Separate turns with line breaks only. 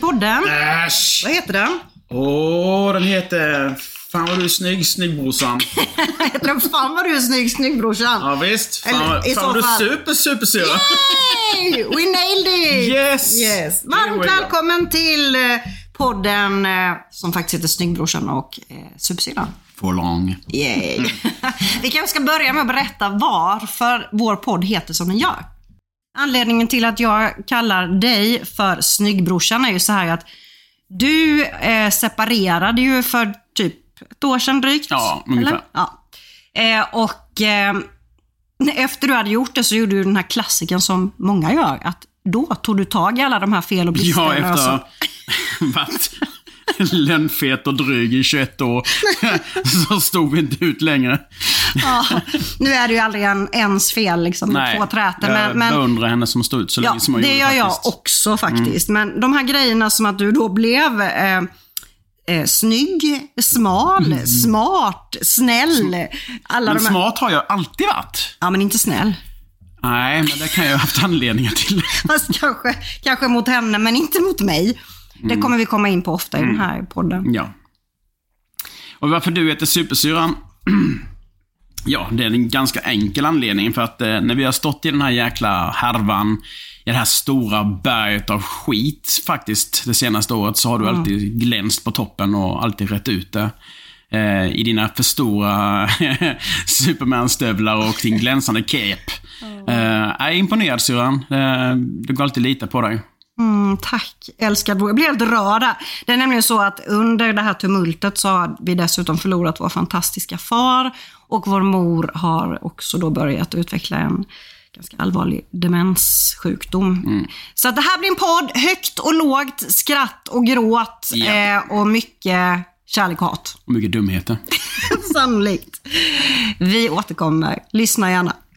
podden.
Äsch!
Vad heter den?
Åh, den heter... Fan vad du är snygg, snyggbrorsan.
heter den Fan vad du är snygg, snygg brorsan.
Ja, visst. Fan,
Eller, i
fan
så
vad du är
fall-
super, super sur.
Yay! We nailed it!
Yes!
yes.
Here
Varmt
we go.
välkommen till eh, podden eh, som faktiskt heter Snyggbrorsan och eh, Supersyrran.
For long.
Yay!
Mm.
Vi kanske ska börja med att berätta varför vår podd heter som den gör. Anledningen till att jag kallar dig för Snyggbrorsan är ju så här att du eh, separerade ju för typ ett år sedan drygt.
Ja, ungefär.
eller? Ja. Eh, och eh, efter du hade gjort det så gjorde du den här klassiken som många gör. Att då tog du tag i alla de här fel och bristerna.
Ja,
och så.
efter varit lönnfet och dryg i 21 år så stod vi inte ut längre.
Ja, nu är det ju aldrig en, ens fel liksom, på träten.
jag
Men, men,
beundrar henne som stod ut så länge som hon
det
gjorde
gör jag
faktiskt. Mm.
också faktiskt. Men de här grejerna som att du då blev eh, eh, snygg, smal, smart, snäll. Alla
Mm. Men
de här...
smart har jag alltid varit.
Ja, men inte snäll.
Nej, men det kan jag ha haft anledningar till.
Fast kanske, kanske mot henne, men inte mot mig.
Mm.
Det kommer vi komma in på ofta i den här podden.
Ja. Och varför du heter Supersyran? Ja, det är en ganska enkel anledning för att eh, när vi har stått i den här jäkla härvan, i det här stora berget av skit faktiskt, det senaste året, så har du alltid glänst på toppen och alltid rätt ut det. Eh, I dina för stora Superman-stövlar och din glänsande cape. Eh, jag är imponerad syrran. Eh, det går alltid att lita på dig.
Mm, tack, älskad vår. Jag blir helt rörd. här. Det är nämligen så att under det här tumultet så har vi dessutom förlorat vår fantastiska far och vår mor har också då börjat utveckla en ganska allvarlig demenssjukdom. Så att det här blir en podd, högt och lågt, skratt och gråt
Ja.
eh, och mycket kärlek och hat.
Och mycket dumheter.
Sannolikt. Vi återkommer. Lyssna gärna.